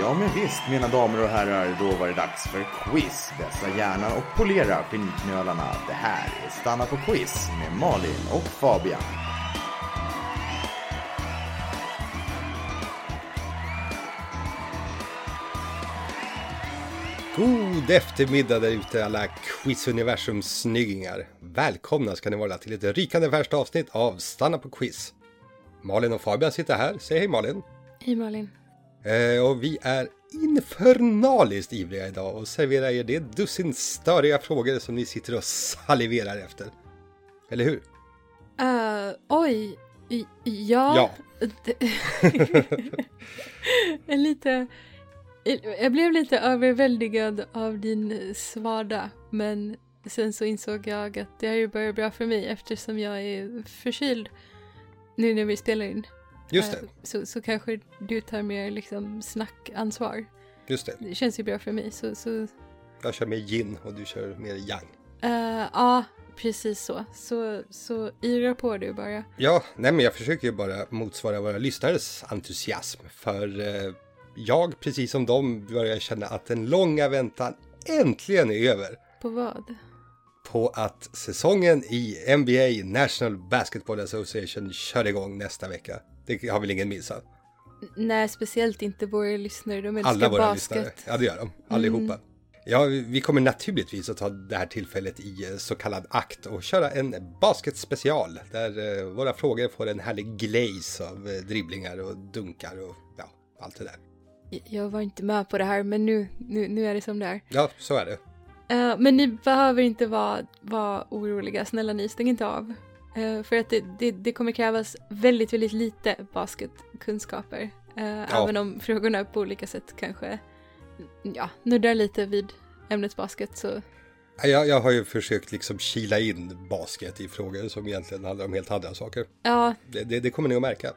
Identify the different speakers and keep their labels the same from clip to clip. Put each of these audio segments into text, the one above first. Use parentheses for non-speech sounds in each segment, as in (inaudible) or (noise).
Speaker 1: Ja, men visst, mina damer och herrar, då var det dags för quiz. Vässa hjärnan och polera pinknölarna. Det här är Stanna på quiz med Malin och Fabian.
Speaker 2: God eftermiddag där ute alla quizuniversums snyggingar. Välkomna ska ni vara till ett rykande färskt avsnitt av Stanna på quiz. Malin och Fabian sitter här. Säg hej Malin!
Speaker 3: Hej Malin.
Speaker 2: Eh, och vi är infernaliskt ivriga idag och serverar er det dussin störiga frågor som ni sitter och saliverar efter. Eller hur?
Speaker 3: Eh, oj, i- ja. (laughs)
Speaker 2: Ja.
Speaker 3: Det- Jag är lite... Jag blev lite överväldigad av din svarda, men sen så insåg jag att det här ju börjar bra för mig eftersom jag är förkyld nu när vi spelar in.
Speaker 2: Just
Speaker 3: Eh,
Speaker 2: det,
Speaker 3: Så, så kanske du tar mer liksom snackansvar.
Speaker 2: just det.
Speaker 3: Det känns ju bra för mig, så... så
Speaker 2: Jag kör mer gin och du kör mer yang.
Speaker 3: eh, ja, precis så. Så, så yra på du bara.
Speaker 2: Ja, nej men jag försöker ju bara motsvara våra lyssnares entusiasm för eh, jag, precis som de, börjar känna att den långa väntan äntligen är över
Speaker 3: På vad?
Speaker 2: på att säsongen i NBA, National Basketball Association, kör igång nästa vecka. Det har väl ingen missat?
Speaker 3: Nej, speciellt inte våra lyssnare. De älskar
Speaker 2: Alla våra
Speaker 3: basket. Mm.
Speaker 2: lyssnare. Ja, det gör de. Allihopa. Ja, vi kommer naturligtvis att ta det här tillfället i eh, så kallad akt och köra en basketspecial där eh, våra frågor får en härlig glaze av eh, dribblingar och dunkar och ja, allt det där.
Speaker 3: Jag var inte med på det här, men nu, nu, nu är det som det är.
Speaker 2: Ja, så är det.
Speaker 3: Eh, men ni behöver inte vara, vara oroliga. Snälla ni, stäng inte av. Eh, för att det, det, det kommer krävas väldigt, väldigt lite basketkunskaper. Eh, Även om frågorna på olika sätt kanske ja, nuddar lite vid ämnet basket. Så
Speaker 2: Ja, Jag, jag har ju försökt liksom kila in basket i frågor som egentligen handlar om helt andra saker.
Speaker 3: ja,
Speaker 2: Det, det, det kommer ni att märka.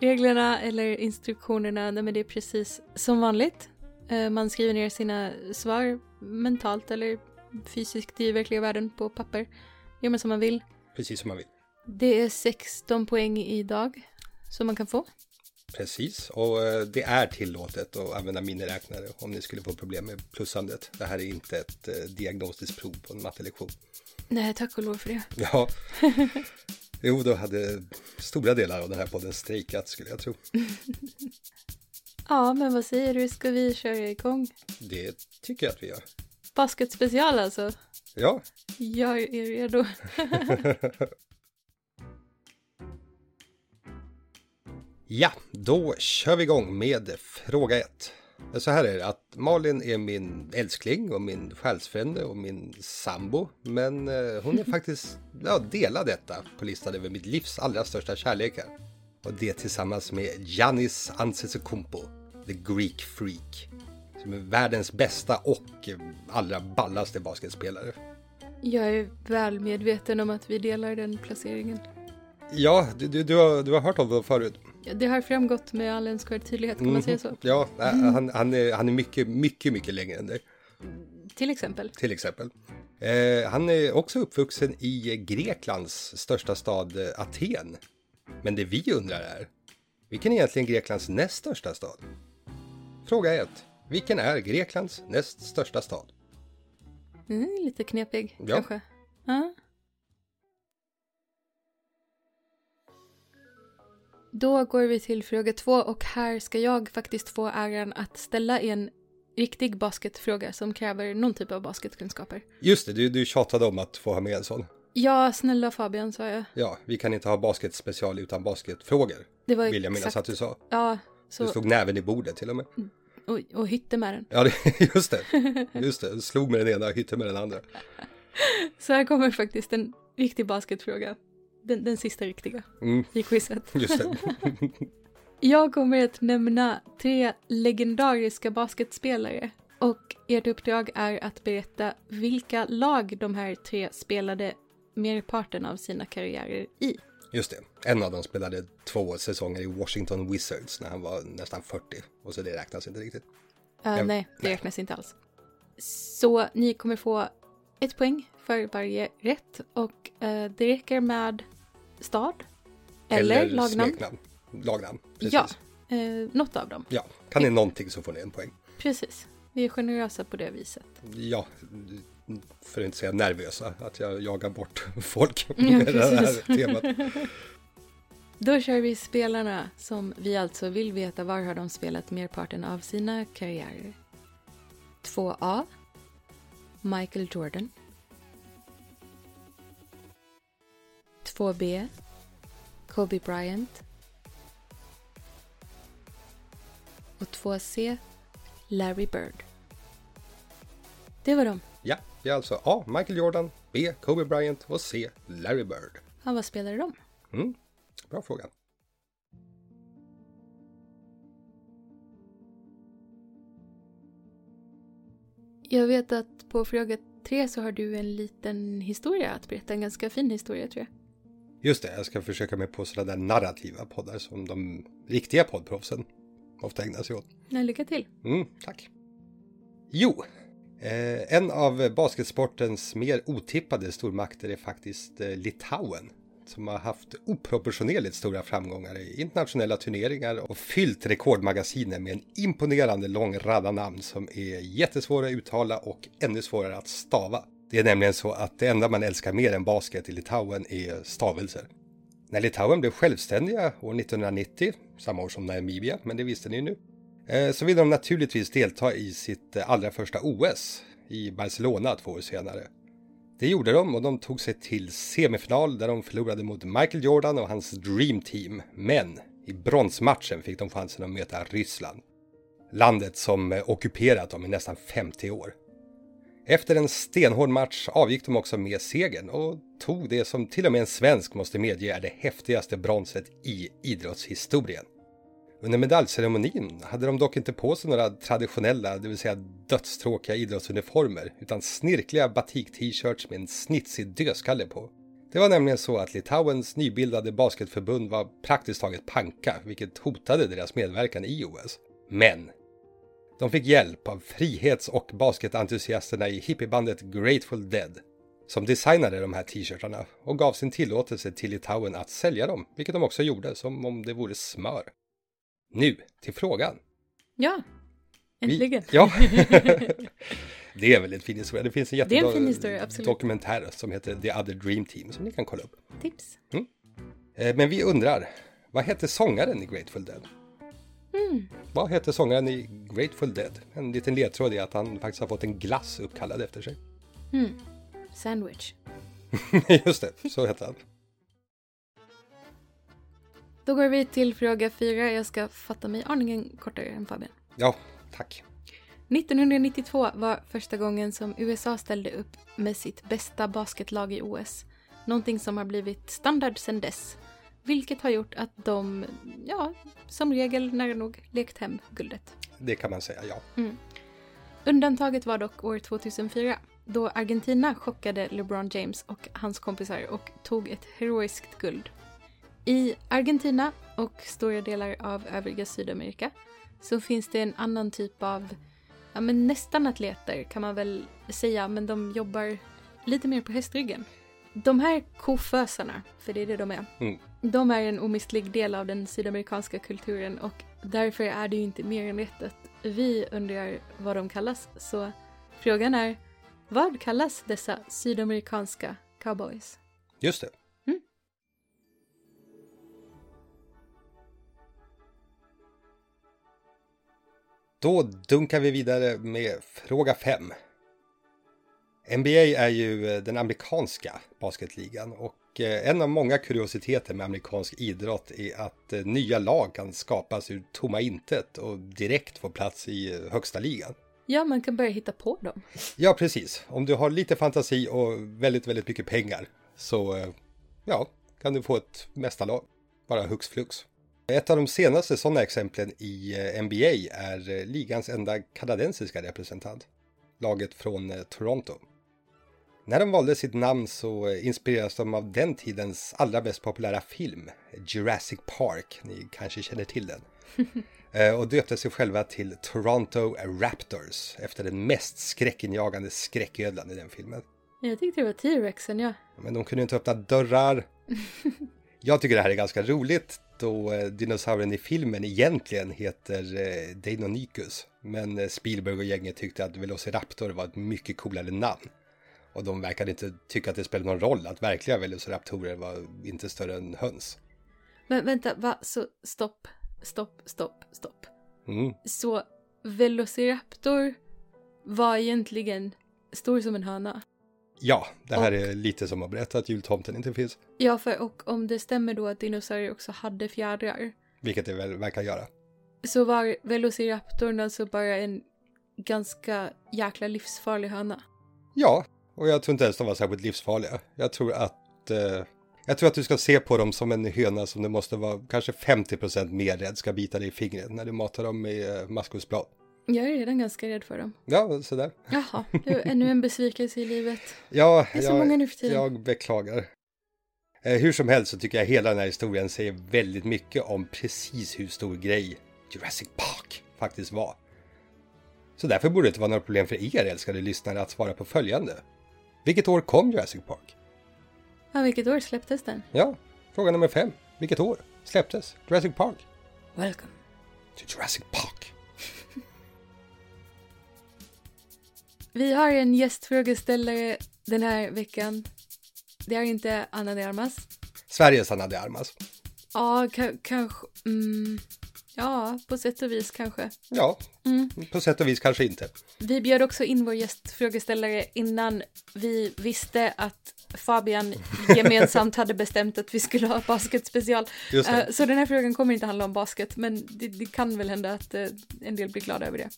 Speaker 3: Reglerna eller instruktionerna, nej men det är precis som vanligt. Eh, Man skriver ner sina svar mentalt eller fysiskt i verkliga världen på papper. Gör man som man vill.
Speaker 2: Precis som man vill.
Speaker 3: Det är 16 poäng idag som man kan få.
Speaker 2: Precis, och eh, det är tillåtet att använda miniräknare om ni skulle få problem med plussandet. Det här är inte ett eh, diagnostiskt prov på en mattelektion. (laughs)
Speaker 3: Nej, tack och lov för det.
Speaker 2: Ja, jo, då hade stora delar av den här podden strejkat skulle jag tro.
Speaker 3: Ja, men vad säger du, ska vi köra igång?
Speaker 2: Det tycker jag att vi gör.
Speaker 3: Basketspecial alltså.
Speaker 2: Ja,
Speaker 3: Jag är redo.
Speaker 2: ja, då kör vi igång med fråga ett. Så här är det att Malin är min älskling och min själsfrände och min sambo. Men eh,
Speaker 3: (laughs)
Speaker 2: hon är faktiskt ja, delad detta på listan över mitt livs allra största kärlekar. Och det tillsammans med Giannis Antetokounmpo, the Greek freak. Som är världens bästa och eh, allra ballaste basketspelare.
Speaker 3: Jag är väl medveten om att vi delar den placeringen.
Speaker 2: Ja, du, du, du, har, du har hört om det förut.
Speaker 3: Ja, Det har framgått med all önskvärd tydlighet, kan man säga så?
Speaker 2: Ja, äh, han, han är, han är mycket, mycket, mycket längre än dig,
Speaker 3: Till exempel.
Speaker 2: till exempel. Eh, han är också uppvuxen i Greklands största stad eh, Aten. Men det vi undrar är, vilken är egentligen Greklands näst största stad? Fråga 1. Vilken är Greklands näst största stad?
Speaker 3: Mm, lite knepig
Speaker 2: Ja.
Speaker 3: kanske. Ja. Då går vi till fråga två och här ska jag faktiskt få äran att ställa en riktig basketfråga som kräver någon typ av basketkunskaper.
Speaker 2: Just det, du, du tjatade om att få ha med en sån.
Speaker 3: Ja, snälla Fabian sa jag.
Speaker 2: Ja, vi kan inte ha basketspecial utan basketfrågor,
Speaker 3: Det var ju
Speaker 2: vill jag minnas
Speaker 3: exakt-
Speaker 2: att du sa.
Speaker 3: Ja,
Speaker 2: Du
Speaker 3: så,
Speaker 2: slog näven i bordet till och med.
Speaker 3: och, och hytte med den.
Speaker 2: Ja, det, (laughs) just det. Just det. Slog med den ena, hytte med den andra.
Speaker 3: Så här kommer faktiskt en riktig basketfråga. Den, den sista riktiga
Speaker 2: Mm,
Speaker 3: i quizet.
Speaker 2: just det.
Speaker 3: Jag kommer att nämna tre legendariska basketspelare och ert uppdrag är att berätta vilka lag de här tre spelade merparten av sina karriärer i.
Speaker 2: Just det. En av dem spelade två säsonger i Washington Wizards när han var nästan 40. Och så det räknas inte riktigt.
Speaker 3: Äh,
Speaker 2: Ja,
Speaker 3: nej, det räknas inte alls. Så ni kommer få ett poäng för varje rätt och eh, det räcker med stad eller, lagnamn.
Speaker 2: smeknamn. Lagnamn, precis.
Speaker 3: Ja, eh, något av dem.
Speaker 2: Ja, kan ni någonting så får ni en poäng.
Speaker 3: Precis. Vi är generösa på det viset.
Speaker 2: Ja, för att inte säga nervösa, att jag jagar bort (laughs) folk
Speaker 3: Ja,
Speaker 2: med det
Speaker 3: precis.
Speaker 2: här (laughs) temat.
Speaker 3: Då kör vi spelarna som vi alltså vill veta var har de spelat merparten av sina karriärer. 2A. Michael Jordan. 2B. Kobe Bryant. Och 2C. Larry Bird. Det var dem.
Speaker 2: Ja, det är alltså A. Michael Jordan, B. Kobe Bryant och C. Larry Bird.
Speaker 3: Ja, vad spelade de?
Speaker 2: Mm, bra fråga.
Speaker 3: Jag vet att på fråga tre så har du en liten historia att berätta. En ganska fin historia tror jag.
Speaker 2: Just det, jag ska försöka mig på sådana där narrativa poddar som de riktiga poddproffsen ofta ägnar sig åt.
Speaker 3: Nej, lycka till.
Speaker 2: Mm, tack. Jo, eh, en av basketsportens mer otippade stormakter är faktiskt eh, Litauen som har haft oproportionerligt stora framgångar i internationella turneringar och fyllt rekordmagasinen med en imponerande lång radda namn som är jättesvåra att uttala och ännu svårare att stava. Det är nämligen så att det enda man älskar mer än basket i Litauen är stavelser. När Litauen blev självständiga år 1990, samma år som Namibia, men det visste ni ju nu, Eh, så vill de naturligtvis delta i sitt eh, allra första OS i Barcelona två år senare. Det gjorde de och de tog sig till semifinal där de förlorade mot Michael Jordan och hans Dream Team. Men i bronsmatchen fick de chansen att möta Ryssland. Landet som eh, ockuperat dem i nästan 50 år. Efter en stenhård match avgick de också med segern och tog det som till och med en svensk måste medge är det häftigaste bronset i idrottshistorien. Under medaljceremonin hade de dock inte på sig några traditionella, det vill säga dödstråkiga idrottsuniformer, utan snirkliga batik-t-shirts med en snitsig dödskalle på. Det var nämligen så att Litauens nybildade basketförbund var praktiskt taget panka, vilket hotade deras medverkan i OS. Men! De fick hjälp av frihets och basketentusiasterna i hippiebandet Grateful Dead, som designade de här t-shirtarna och gav sin tillåtelse till Litauen att sälja dem, vilket de också gjorde, som om det vore smör. Nu till frågan.
Speaker 3: Ja,
Speaker 2: Vi-
Speaker 3: äntligen. (laughs)
Speaker 2: Ja. det är väl en fin historia. Det finns en
Speaker 3: Det är en
Speaker 2: jättebra
Speaker 3: fin historia, absolut.
Speaker 2: dokumentär som heter The Other Dream Team som ni kan kolla upp.
Speaker 3: Tips.
Speaker 2: Eh, Men vi undrar, vad hette sångaren i Grateful Dead?
Speaker 3: Hmm.
Speaker 2: Vad hette sångaren i Grateful Dead? En liten ledtråd är att han faktiskt har fått en glass uppkallad efter sig. (laughs)
Speaker 3: Sandwich.
Speaker 2: Just det, så hette han.
Speaker 3: Då går vi till fråga fyra. Jag ska fatta mig aningen kortare än Fabian.
Speaker 2: Ja, tack.
Speaker 3: 1992 var första gången som USA ställde upp med sitt bästa basketlag i OS. Någonting som har blivit standard sedan dess. Vilket har gjort att de, ja, som regel nära nog lekt hem guldet.
Speaker 2: Det kan man säga, ja.
Speaker 3: Undantaget var dock år 2004 då Argentina chockade LeBron James och hans kompisar och tog ett heroiskt guld. I Argentina och stora delar av övriga Sydamerika så finns det en annan typ av, ja men nästan atleter kan man väl säga, men de jobbar lite mer på hästryggen. De här kofösarna, för det är det de är,
Speaker 2: Mm.
Speaker 3: de är en omistlig del av den sydamerikanska kulturen och därför är det ju inte mer än rätt att vi undrar vad de kallas. Så frågan är, vad kallas dessa sydamerikanska cowboys?
Speaker 2: Just det. Då dunkar vi vidare med fråga 5. NBA är ju eh, den amerikanska basketligan och eh, en av många kuriositeter med amerikansk idrott är att eh, nya lag kan skapas ur tomma intet och direkt få plats i eh, högsta ligan.
Speaker 3: Ja, man kan börja hitta på dem.
Speaker 2: Ja, precis. Om du har lite fantasi och väldigt, väldigt mycket pengar så eh, ja, kan du få ett mästarlag. Bara hux flux. Ett av de senaste sådana exemplen i eh, NBA är eh, ligans enda kanadensiska representant. Laget från eh, Toronto. När de valde sitt namn så eh, inspireras de av den tidens allra mest populära film, Jurassic Park. Ni kanske känner till den. Eh, och döpte sig själva till Toronto Raptors efter den mest skräckinjagande skräcködlan i den filmen.
Speaker 3: Jag tyckte det var T-rexen, ja.
Speaker 2: Men de kunde inte öppna dörrar. Jag tycker det här är ganska roligt. då eh, dinosaurien i filmen egentligen heter eh, Deinonychus. Men eh, Spielberg och gänget tyckte att Velociraptor var ett mycket coolare namn. Och de verkade inte tycka att det spelade någon roll att verkliga Velociraptorer var inte större än höns.
Speaker 3: Men vänta, va? Så stopp, stopp, stopp, stopp.
Speaker 2: Mm.
Speaker 3: Så Velociraptor var egentligen stor som en höna.
Speaker 2: Ja, det här
Speaker 3: Och-
Speaker 2: är lite som att berätta att jultomten inte finns,
Speaker 3: Ja, för och om det stämmer då att dinosaurier också hade fjädrar
Speaker 2: vilket det väl verkar göra.
Speaker 3: så var Velociraptorn alltså bara en ganska jäkla livsfarlig höna.
Speaker 2: Ja, och jag tror inte ens de var särskilt livsfarliga. Jag tror att... Eh, jag tror att du ska se på dem som en höna som du måste vara kanske 50% mer rädd ska bita dig i fingret när du matar dem med eh, maskrosblad.
Speaker 3: Jag är redan ganska rädd för dem.
Speaker 2: Ja, sådär.
Speaker 3: Jaha, det var ännu en besvikelse i livet.
Speaker 2: Ja,
Speaker 3: Det är så
Speaker 2: jag,
Speaker 3: många nu för tiden.
Speaker 2: jag beklagar. Eh, hur som helst så tycker jag hela den här historien säger väldigt mycket om precis hur stor grej Jurassic Park faktiskt var. Så därför borde det inte vara några problem för er älskade lyssnare att svara på följande. Vilket år kom Jurassic Park?
Speaker 3: Ja, vilket år släpptes den?
Speaker 2: Ja, fråga nummer fem. Vilket år släpptes Jurassic Park?
Speaker 3: Welcome.
Speaker 2: To Jurassic Park.
Speaker 3: Vi har en gästfrågeställare den här veckan. Det är inte Anna de Armas.
Speaker 2: Sveriges Anna de Armas.
Speaker 3: Ja, ka- kanske... Mm, ja, på sätt och vis kanske.
Speaker 2: Ja,
Speaker 3: Mm.
Speaker 2: på sätt och vis kanske inte.
Speaker 3: Vi bjöd också in vår gästfrågeställare innan vi visste att
Speaker 2: (laughs)
Speaker 3: Fabian gemensamt hade bestämt att vi skulle ha basketspecial.
Speaker 2: Just det.
Speaker 3: Eh, Så den här frågan kommer inte handla om basket, men det, det kan väl hända att eh, en del blir glada över det.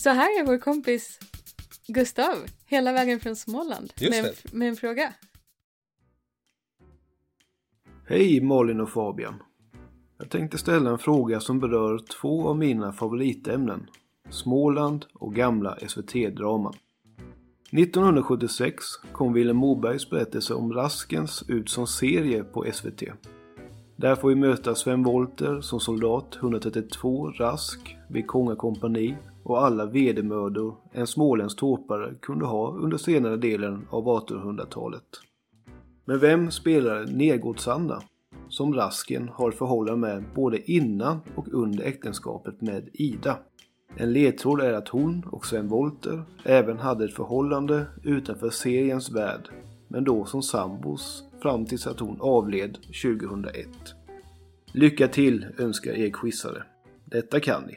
Speaker 3: Så här är vår kompis Gustav, hela vägen från Småland,
Speaker 2: Just
Speaker 3: med en,
Speaker 2: det.
Speaker 3: f- med en fråga.
Speaker 4: Hej Malin och Fabian. Jag tänkte ställa en fråga som berör två av mina favoritämnen. Småland och gamla SVT-draman. 1976 kom Willem Mobergs berättelse om Raskens ut som serie på SVT. Där får vi möta Sven Wollter som soldat 132 Rask vid Kongakompani och alla vedermödor en småländsk torpare kunde ha under senare delen av 1800-talet. Men vem spelar Nergårdsanna? Som Rasken har förhållande med både innan och under äktenskapet med Ida. En ledtråd är att hon och Sven Wollter även hade ett förhållande utanför seriens värld, men då som sambos fram tills att hon avled 2001. Lycka till önskar er quizare. Detta kan ni.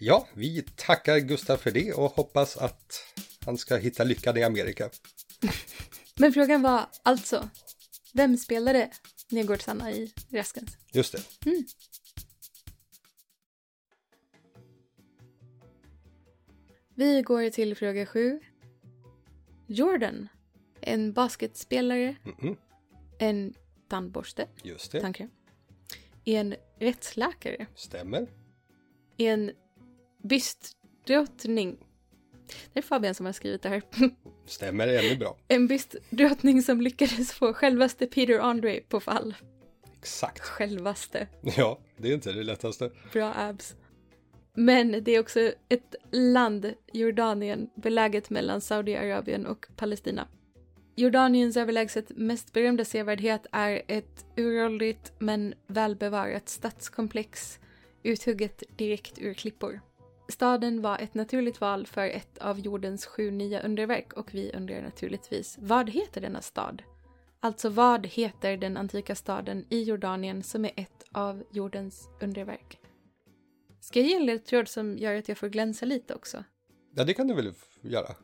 Speaker 2: Ja, vi tackar Gustav för det och hoppas att han ska hitta lyckan i Amerika.
Speaker 3: Men frågan var alltså, vem spelade Nergårdsanna i Raskens?
Speaker 2: Just det.
Speaker 3: Vi går till fråga sju. Jordan, en basketspelare,
Speaker 2: Mhm,
Speaker 3: en tandborste,
Speaker 2: Just det.
Speaker 3: tandkräm, en rättsläkare,
Speaker 2: Stämmer.
Speaker 3: en bystdrottning. Det är Fabian som har skrivit det här. (laughs)
Speaker 2: Stämmer ännu bra.
Speaker 3: En bystdrottning som lyckades få självaste Peter Andre på fall.
Speaker 2: Exakt.
Speaker 3: Självaste.
Speaker 2: Ja, det är inte det lättaste.
Speaker 3: Bra abs. Men det är också ett land, Jordanien, beläget mellan Saudiarabien och Palestina. Jordaniens överlägset mest berömda sevärdhet är ett uråldrigt men välbevarat stadskomplex uthugget direkt ur klippor. Staden var ett naturligt val för ett av jordens sju nya underverk och vi undrar naturligtvis vad heter denna stad? Alltså vad heter den antika staden i Jordanien som är ett av jordens underverk? Ska jag ge en ledtråd som gör att jag får glänsa lite också?
Speaker 2: Ja, det kan du väl f- göra?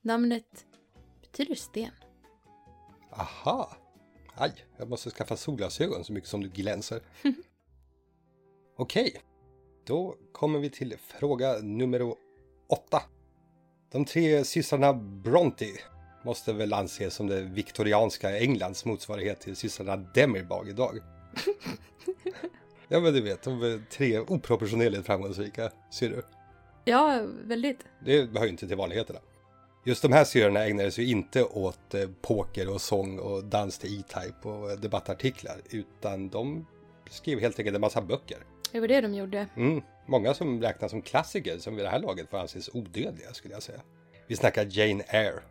Speaker 3: Namnet betyder sten.
Speaker 2: Aha! Aj, jag måste skaffa solglasögon så mycket som du glänser. Okej, då kommer vi till fråga nummer åtta. De tre systrarna Bronte måste väl anses som det viktorianska Englands motsvarighet till systrarna Demirbag idag. ja, men du vet, de är tre oproportionerligt framgångsrika syrror.
Speaker 3: Ja, väldigt.
Speaker 2: Det hör ju inte till vanligheterna. Just de här syrrorna ägnade sig ju inte åt eh, poker och sång och dans till E-Type och eh, debattartiklar, utan de skrev helt enkelt en massa böcker.
Speaker 3: Det var det de gjorde.
Speaker 2: Mm. Många som räknas som klassiker som vid det här laget får anses odödliga skulle jag säga. Vi snackar Jane Eyre.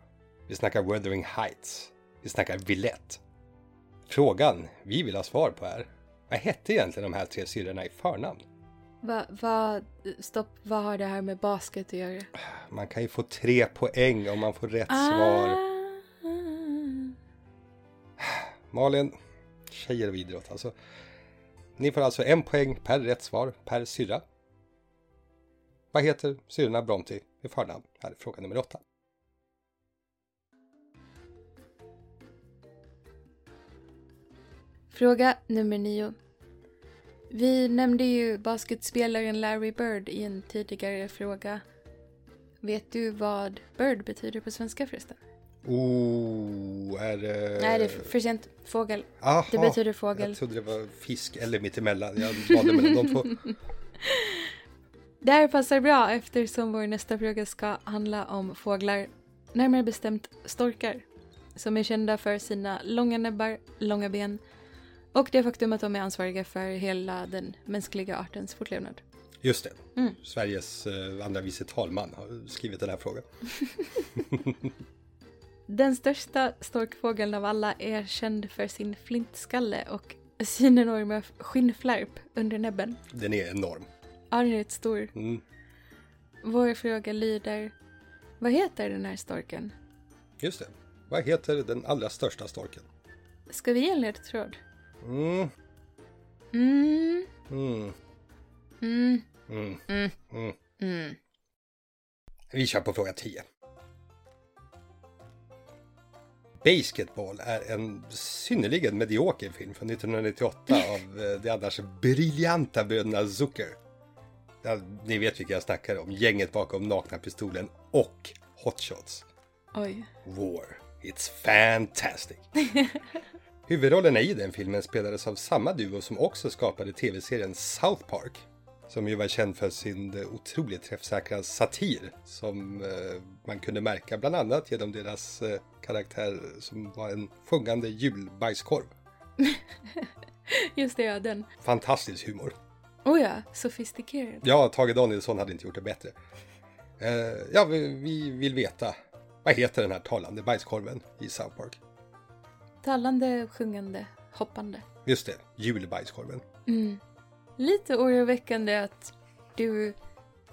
Speaker 2: Vi snackar Wuthering Heights. Vi snackar Villette. Frågan vi vill ha svar på är, Vad hette egentligen de här tre syrrorna i förnamn?
Speaker 3: Va, va, stopp, vad har det här med basket att göra?
Speaker 2: Man kan ju få tre poäng om man får rätt svar.
Speaker 3: Ah.
Speaker 2: Malin, tjejer och idrott alltså. Ni får alltså en poäng per rätt svar per syrra. Vad heter syrrorna Bronte i förnamn? Här är fråga nummer åtta.
Speaker 3: Fråga nummer nio. Vi nämnde ju basketspelaren Larry Bird i en tidigare fråga. Vet du vad Bird betyder på svenska förresten?
Speaker 2: Oh, är det...
Speaker 3: Nej, det är för- för sent. Fågel.
Speaker 2: Aha,
Speaker 3: det betyder fågel.
Speaker 2: Jag trodde det var fisk eller mittemellan. Jag valde mellan de
Speaker 3: (laughs)
Speaker 2: två.
Speaker 3: Det här passar bra eftersom vår nästa fråga ska handla om fåglar, närmare bestämt storkar, som är kända för sina långa näbbar, långa ben och det faktum att de är ansvariga för hela den mänskliga artens fortlevnad.
Speaker 2: Just det.
Speaker 3: Mm.
Speaker 2: Sveriges eh, andra vice talman har skrivit den här frågan.
Speaker 3: Den största storkfågeln av alla är känd för sin flintskalle och sin enorma skinnflärp under näbben.
Speaker 2: Den är enorm.
Speaker 3: Ja, den är rätt stor.
Speaker 2: Mm.
Speaker 3: Vår fråga lyder, vad heter den här storken?
Speaker 2: Just det. Vad heter den allra största storken?
Speaker 3: Ska vi ge en ledtråd?
Speaker 2: Mm.
Speaker 3: Mm.
Speaker 2: Mm.
Speaker 3: Mm.
Speaker 2: Mm.
Speaker 3: Mm.
Speaker 2: Mm.
Speaker 3: Mm.
Speaker 2: Vi kör på fråga 10. Basketball är en synnerligen medioker film från 1998 av eh, de annars briljanta bröderna Zucker. Ja, ni vet vilka jag snackar om, gänget bakom Nakna Pistolen och Hot Shots.
Speaker 3: Oj.
Speaker 2: War. It's fantastic! (laughs) Huvudrollerna i den filmen spelades av samma duo som också skapade tv-serien South Park. Som ju var känd för sin eh, otroligt träffsäkra satir som eh, man kunde märka bland annat genom deras eh, karaktär som var en sjungande julbajskorv.
Speaker 3: (laughs) Just det, ja den.
Speaker 2: Fantastisk humor!
Speaker 3: Oh ja, sofistikerad.
Speaker 2: Ja, Tage Danielsson hade inte gjort det bättre. Eh, ja, vi, vi vill veta. Vad heter den här talande bajskorven i South Park?
Speaker 3: Talande, sjungande, hoppande.
Speaker 2: Just det, julbajskorven.
Speaker 3: Mm. Lite oroväckande att du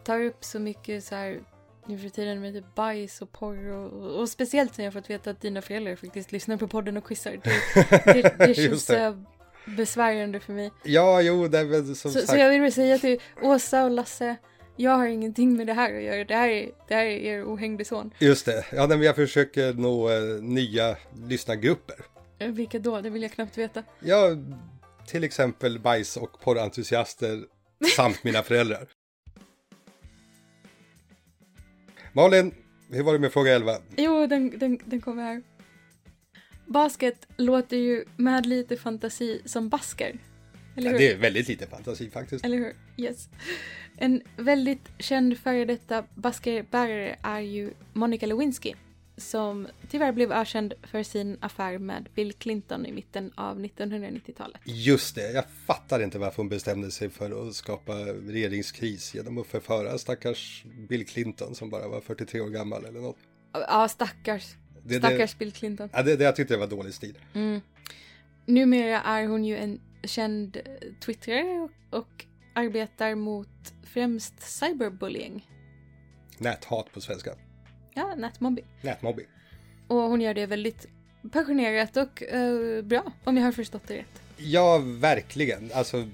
Speaker 3: tar upp så mycket så här nu för tiden med typ bajs och porr och, och speciellt sen jag fått veta att dina föräldrar faktiskt lyssnar på podden och quizar.
Speaker 2: (laughs)
Speaker 3: Det, det, det känns
Speaker 2: Just det.
Speaker 3: det. besvärande för mig.
Speaker 2: Ja, jo, nej, men som
Speaker 3: Så,
Speaker 2: sagt.
Speaker 3: så jag vill väl säga till Åsa och Lasse, jag har ingenting med det här att göra. Det här är, det här är er ohängde son.
Speaker 2: Just det, ja, nej, men jag försöker nå eh, nya lyssnargrupper.
Speaker 3: Eh, Vilka då? Det vill jag knappt veta.
Speaker 2: Ja, till exempel bajs och
Speaker 3: (laughs)
Speaker 2: porrentusiaster samt mina föräldrar. Malin, hur var det med fråga 11?
Speaker 3: Jo, den, den, den kommer här. Basket låter ju med lite fantasi som basker. Eller
Speaker 2: Ja,
Speaker 3: hur?
Speaker 2: det är väldigt lite fantasi faktiskt.
Speaker 3: Eller hur? Yes. En väldigt känd före detta baskerbärare är ju Monica Lewinsky. Som tyvärr blev ökänd för sin affär med Bill Clinton i mitten av 1990-talet.
Speaker 2: Just det, jag fattar inte varför hon bestämde sig för att skapa regeringskris genom att förföra stackars Bill Clinton som bara var 43 år gammal eller något.
Speaker 3: Ja, stackars.
Speaker 2: Det, det,
Speaker 3: Stackars Bill Clinton.
Speaker 2: ja, det, det jag tyckte det var dålig stil.
Speaker 3: Numera är hon ju en känd eh, twittrare och, och arbetar mot främst cyberbullying.
Speaker 2: Näthat på svenska.
Speaker 3: Ja, nätmobbing.
Speaker 2: Nätmobbing.
Speaker 3: Och hon gör det väldigt passionerat och eh, bra, om jag har förstått det rätt.
Speaker 2: Ja, verkligen. Alltså,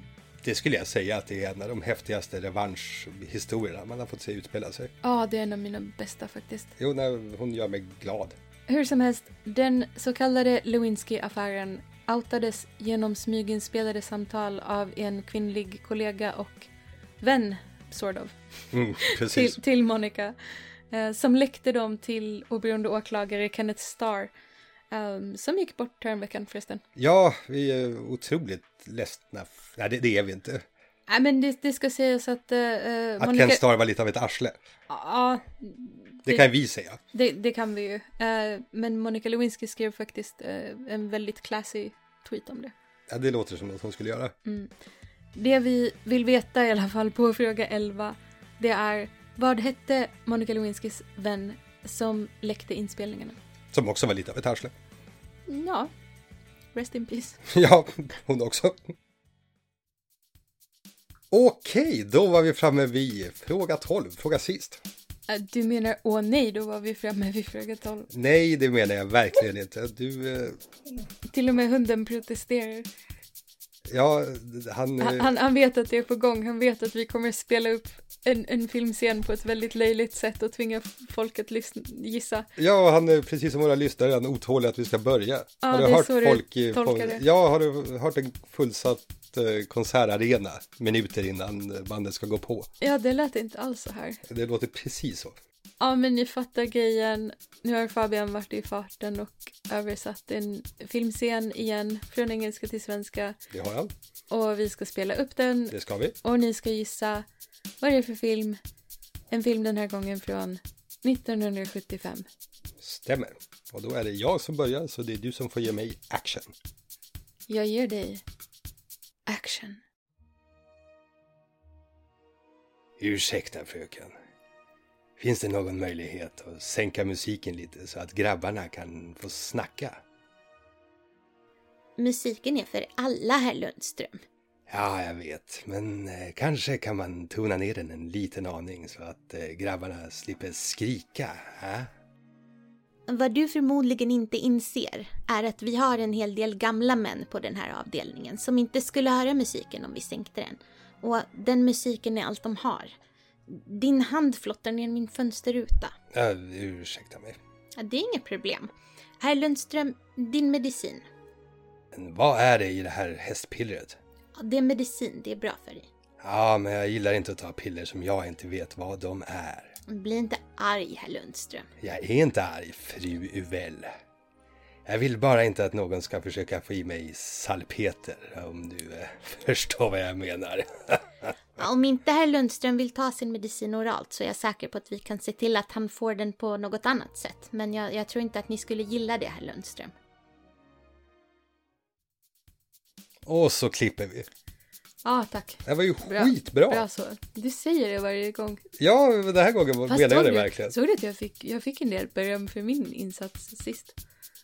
Speaker 2: det skulle jag säga att det är en av de häftigaste revanschhistorierna man har fått se utspela sig.
Speaker 3: Ja, det är en av mina bästa faktiskt.
Speaker 2: Jo, när hon gör mig glad.
Speaker 3: Hur som helst, den så kallade Lewinsky-affären outades genom smyginspelade samtal av en kvinnlig kollega och vän, sort of,
Speaker 2: Mm,
Speaker 3: till,
Speaker 2: precis.
Speaker 3: till Monica. Eh, som läckte dem till oberoende åklagare Kenneth Starr. ehm, som gick bort häromveckan förresten.
Speaker 2: Ja, vi är otroligt ledsna. f- Nej, det, det är vi inte.
Speaker 3: Nej men det, det ska sägas att... eh, eh,
Speaker 2: Att Ken Starr var lite av ett arsle.
Speaker 3: Ja,
Speaker 2: Det
Speaker 3: Det-
Speaker 2: kan vi säga.
Speaker 3: det, det kan vi ju. Eh, men Monica Lewinsky skrev faktiskt eh, en väldigt classy tweet om det.
Speaker 2: Ja, det låter som något hon skulle göra.
Speaker 3: Det vi vill veta i alla fall på (laughs) fråga 11, det är vad hette Monica Lewinskys vän som läckte inspelningarna?
Speaker 2: Som också var lite av ett arsle. (laughs)
Speaker 3: Ja, rest in peace.
Speaker 2: Ja, hon också. Okej, då var vi framme vid fråga 12, fråga sist.
Speaker 3: Eh, Du menar åh nej, då var vi framme vid fråga 12.
Speaker 2: Nej, det menar jag verkligen inte. Du, eh,
Speaker 3: Till och med hunden protesterar.
Speaker 2: ja, han... eh,
Speaker 3: Han, han, han vet att det är på gång, han vet att vi kommer spela upp en, en filmscen på ett väldigt löjligt sätt och tvinga folk att lyssna, gissa.
Speaker 2: Ja, han är precis som våra lyssnare han är otålig att vi ska börja.
Speaker 3: Ja,
Speaker 2: har du
Speaker 3: det är
Speaker 2: hört
Speaker 3: så du
Speaker 2: folk i,
Speaker 3: tolkar
Speaker 2: folk-
Speaker 3: det.
Speaker 2: Ja, har du hört en fullsatt eh, konsertarena minuter innan eh, bandet ska gå på?
Speaker 3: Ja, det lät inte alls så här.
Speaker 2: Det låter precis så.
Speaker 3: Ja, men ni fattar grejen. Nu har Fabian varit i farten och översatt en filmscen igen från engelska till svenska
Speaker 2: Det har han.
Speaker 3: och vi ska spela upp den
Speaker 2: Det ska vi.
Speaker 3: och ni ska gissa vad det är för film. En film den här gången från 1975.
Speaker 2: Stämmer. Och då är det jag som börjar, så det är du som får ge mig action.
Speaker 3: Jag ger dig action.
Speaker 2: Ursäkta fröken. Finns det någon möjlighet att sänka musiken lite så att grabbarna kan få snacka?
Speaker 5: Musiken är för alla, herr Lundström.
Speaker 2: Ja, jag vet, men eh, kanske kan man tona ner den en liten aning så att eh, grabbarna slipper skrika. Äh?
Speaker 5: Vad du förmodligen inte inser är att vi har en hel del gamla män på den här avdelningen som inte skulle höra musiken om vi sänkte den. Och den musiken är allt de har. Din hand flottar ner min fönsterruta.
Speaker 2: Ja, ursäkta mig.
Speaker 5: Ja, det är inget problem. Herr Lundström, din medicin.
Speaker 2: Men vad är det i det här hästpillret?
Speaker 5: Ja, det är medicin, det är bra för dig.
Speaker 2: Ja, men jag gillar inte att ta piller som jag inte vet vad de är.
Speaker 5: Bli inte arg, herr Lundström.
Speaker 2: Jag är inte arg, fru Uvell. Jag vill bara inte att någon ska försöka få i mig salpeter, om du eh, (laughs) förstår vad jag menar. (laughs)
Speaker 5: Ja, Om inte herr Lundström vill ta sin medicin oralt så är jag säker på att vi kan se till att han får den på något annat sätt. Men jag, jag tror inte att ni skulle gilla det, herr Lundström.
Speaker 2: Och så klipper vi.
Speaker 3: Ja, tack.
Speaker 2: Det här var ju
Speaker 3: Bra.
Speaker 2: skitbra!
Speaker 3: Bra så. Du säger det varje gång.
Speaker 2: Ja, den här gången menar jag
Speaker 3: såg
Speaker 2: det
Speaker 3: du-
Speaker 2: verkligen.
Speaker 3: Såg du att jag fick, jag fick en del beröm för min insats sist?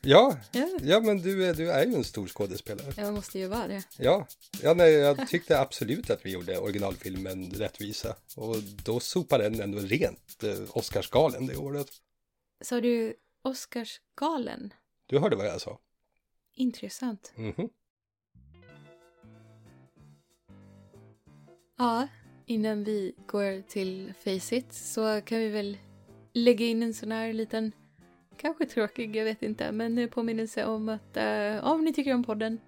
Speaker 2: Ja,
Speaker 3: Ja.
Speaker 2: ja men du, är- du är ju en stor skådespelare.
Speaker 3: Jag måste ju vara det.
Speaker 2: Ja, ja nej,
Speaker 3: (laughs)
Speaker 2: jag tyckte absolut att vi gjorde originalfilmen rättvisa. Och då sopade den ändå rent eh, Oscarsgalen det året.
Speaker 3: Sa du Oscarsgalen?
Speaker 2: Du hörde vad jag sa?
Speaker 3: Intressant.
Speaker 2: Mhm.
Speaker 3: Ja, innan vi går till Faceit så kan vi väl lägga in en sån här liten, kanske tråkig, jag vet inte, men eh, påminnelse om att eh, om ni tycker om podden,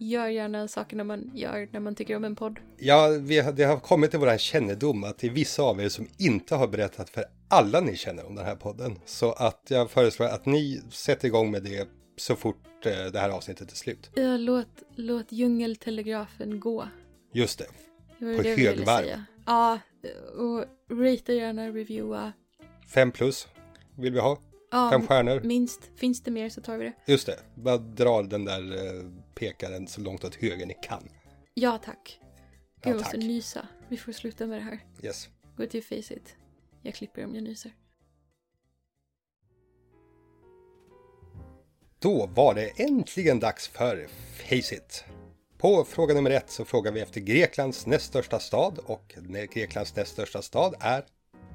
Speaker 3: gör gärna sakerna man gör när man tycker om en podd.
Speaker 2: Ja, vi, har- det har kommit till våran kännedom att det är vissa av er som inte har berättat för alla ni känner om den här podden. Så att jag föreslår att ni sätter igång med det så fort eh, det här avsnittet är slut.
Speaker 3: Ja, låt, låt djungeltelegrafen gå.
Speaker 2: Just det.
Speaker 3: Det var
Speaker 2: På
Speaker 3: det vi ville
Speaker 2: högvarv.
Speaker 3: säga. Ja, och ratea gärna, reviewa.
Speaker 2: Fem plus vill vi ha.
Speaker 3: Ja,
Speaker 2: Fem stjärnor.
Speaker 3: Minst. Finns det mer så tar vi det.
Speaker 2: Just det, bara dra den där eh, pekaren så långt åt höger ni kan.
Speaker 3: Ja, tack. Gud, jag
Speaker 2: Ja,
Speaker 3: måste
Speaker 2: tack.
Speaker 3: nysa. Vi får sluta med det här.
Speaker 2: Yes.
Speaker 3: Gå till Faceit. Jag klipper om jag nyser.
Speaker 2: Då var det äntligen dags för Face It. På fråga nummer ett så frågar vi efter Greklands näst största stad och Greklands näst största stad är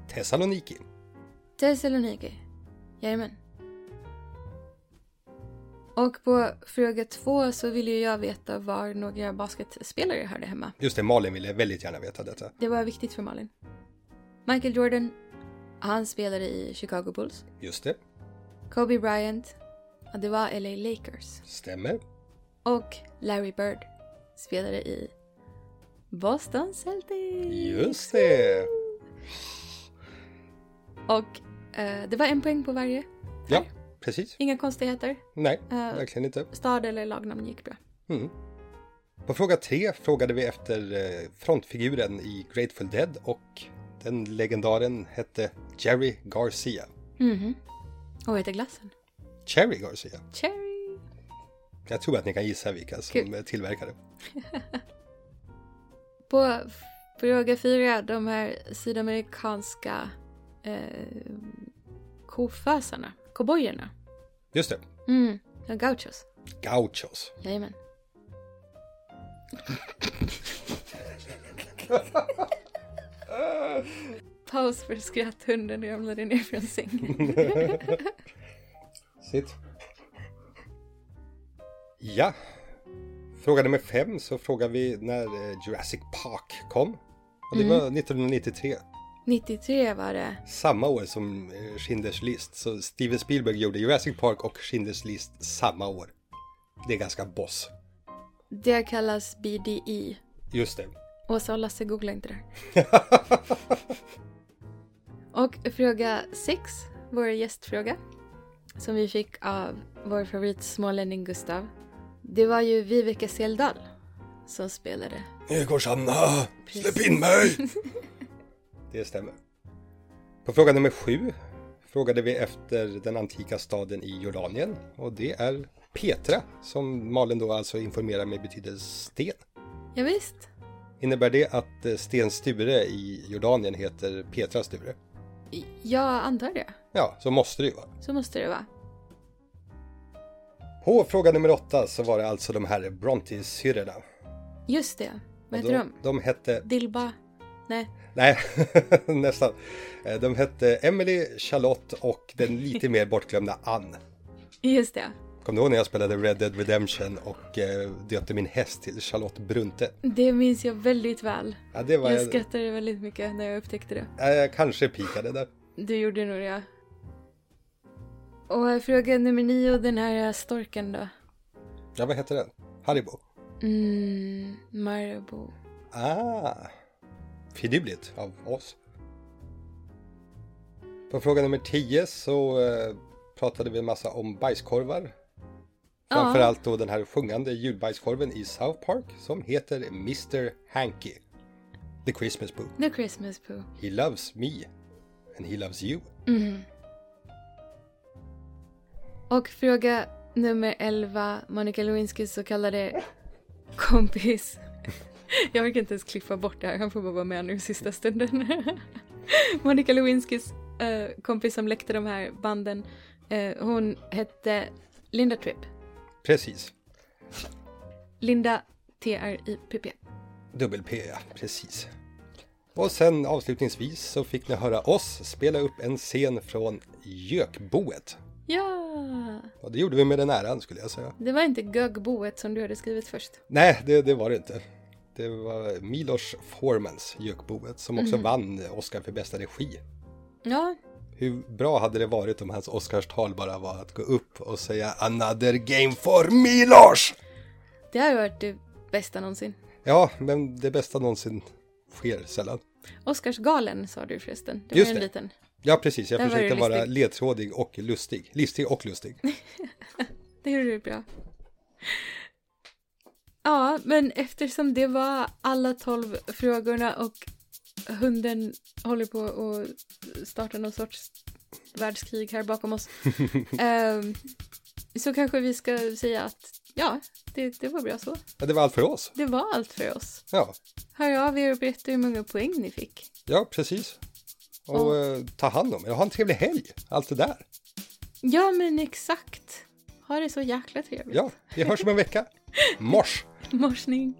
Speaker 2: Thessaloniki.
Speaker 3: Thessaloniki. Jajamän. Och på fråga två så ville ju jag veta var några basketspelare hörde hemma.
Speaker 2: Just det, Malin ville väldigt gärna veta detta.
Speaker 3: Det var viktigt för Malin. Michael Jordan, han spelade i Chicago Bulls.
Speaker 2: Just det,
Speaker 3: Kobe Bryant, ja, det var LA Lakers.
Speaker 2: stämmer.
Speaker 3: Och Larry Bird spelade i Boston Celtics.
Speaker 2: Just det!
Speaker 3: Och eh, det var en poäng på varje.
Speaker 2: Ja, precis.
Speaker 3: Inga konstigheter.
Speaker 2: Nej,
Speaker 3: Eh.
Speaker 2: verkligen inte.
Speaker 3: Stad eller lagnamn gick bra.
Speaker 2: På fråga tre frågade vi efter eh, frontfiguren i Grateful Dead och den legendaren hette Jerry Garcia.
Speaker 3: Mhm. Och vad heter glassen?
Speaker 2: Cherry Garcia.
Speaker 3: Cherry!
Speaker 2: Jag tror att ni kan gissa vilka som
Speaker 3: Kul.
Speaker 2: eh, tillverkade.
Speaker 3: På f- fråga fyra, de här sydamerikanska eh, kofösarna, cowboyerna.
Speaker 2: Just det,
Speaker 3: Mm, de gauchos.
Speaker 2: gauchos.
Speaker 3: Jajamän. Paus för skratt, hunden ramlade ner från sängen.
Speaker 2: Sitt. Ja. Fråga nummer fem så frågar vi när eh, Jurassic Park kom. Och det var 1993.
Speaker 3: 93 var det.
Speaker 2: Samma år som eh, Schindler's List. Så Steven Spielberg gjorde Jurassic Park och Schindler's List samma år. Det är ganska boss.
Speaker 3: Det kallas E. BDI.
Speaker 2: Just det.
Speaker 3: Åsa och Lasse googla inte det.
Speaker 2: (laughs)
Speaker 3: och fråga sex, vår gästfråga. Som vi fick av vår favorit smålänning Gustav. Det var ju Viveka Seldal som spelade.
Speaker 2: Nu går Sanna!
Speaker 3: Precis.
Speaker 2: Ah, Släpp in mig! (laughs) Det stämmer. På fråga nummer sju frågade vi efter den antika staden i Jordanien och det är Petra som Malin då alltså informerar mig betyder sten.
Speaker 3: Ja, visst.
Speaker 2: Innebär det att eh, Sten Sture i Jordanien heter Petra Sture?
Speaker 3: I- Jag antar det.
Speaker 2: Ja, så måste det ju vara.
Speaker 3: Så måste det vara.
Speaker 2: På fråga nummer åtta så var det alltså de här Brontë-syrrorna.
Speaker 3: Just det. Vad
Speaker 2: Och
Speaker 3: heter de?
Speaker 2: De hette
Speaker 3: Dilba? Nej.
Speaker 2: Nej, (laughs) nästan. Eh, De hette Emily, Charlotte och den lite mer bortglömda Ann.
Speaker 3: Just det.
Speaker 2: Kommer du ihåg när jag spelade Red Dead Redemption och eh, döpte min häst till Charlotte Brunte?
Speaker 3: Det minns jag väldigt väl.
Speaker 2: Ja, det var
Speaker 3: Jag
Speaker 2: jag,
Speaker 3: skrattade väldigt mycket när jag upptäckte det.
Speaker 2: Ja, jag kanske pikade där.
Speaker 3: Du gjorde nog det. Och fråga nummer nio, den här storken då?
Speaker 2: Ja, vad hette den? Haribo?
Speaker 3: Mm, Marabou.
Speaker 2: Ah, finurligt av oss. På fråga nummer 10 så eh, pratade vi en massa om bajskorvar.
Speaker 3: Ja.
Speaker 2: Framförallt då den här sjungande julbajskorven i South Park som heter Mr. Hanky. The Christmas Boo.
Speaker 3: The Christmas Poo.
Speaker 2: He loves me. And he loves you.
Speaker 3: Och fråga nummer 11, Monica Lewinskys så kallade kompis. (laughs) Jag orkar inte ens klippa bort det här, han får bara vara med nu i sista stunden. (laughs) Monica Lewinskys eh, kompis som läckte de här banden, eh, hon hette Linda Tripp.
Speaker 2: Precis.
Speaker 3: Linda T-R-I-P-P.
Speaker 2: Dubbel P, ja. Precis. Och sen avslutningsvis så fick ni höra oss spela upp en scen från Gökboet.
Speaker 3: Ja!
Speaker 2: Och det gjorde vi med den äran skulle jag säga.
Speaker 3: Det var inte gögboet som du hade skrivit först.
Speaker 2: Nej, det, det var det inte. Det var Milos Formans, Jökboet, som också
Speaker 3: Mhm.
Speaker 2: vann Oscar för bästa regi.
Speaker 3: Ja,
Speaker 2: Hur bra hade det varit om hans Oscarstal bara var att gå upp och säga “Another game for Milos!”
Speaker 3: det har varit det bästa någonsin.
Speaker 2: Ja, men det bästa någonsin sker sällan.
Speaker 3: Oscarsgalen sa du förresten. Det
Speaker 2: Just
Speaker 3: var en
Speaker 2: det.
Speaker 3: liten.
Speaker 2: Ja, precis. Jag
Speaker 3: Där var
Speaker 2: försökte
Speaker 3: du
Speaker 2: vara
Speaker 3: listig.
Speaker 2: ledtrådig och lustig. Listig och lustig.
Speaker 3: Det gjorde du bra. Ja, men eftersom det var alla tolv frågorna och hunden håller på att starta någon sorts världskrig här
Speaker 2: (laughs)
Speaker 3: bakom oss. ehm, så kanske vi ska säga att ja, det, det var bra så.
Speaker 2: Ja, det var allt för oss.
Speaker 3: Det var allt för oss.
Speaker 2: Ja,
Speaker 3: Hör av er och berätta hur många poäng ni fick.
Speaker 2: ja precis. Och
Speaker 3: Och-
Speaker 2: eh, ta hand om er. Ha en trevlig helg. Allt det där.
Speaker 3: Ja, men exakt. Ha det så jäkla trevligt.
Speaker 2: Ja, vi hörs om en vecka. Mors!
Speaker 3: Morsning.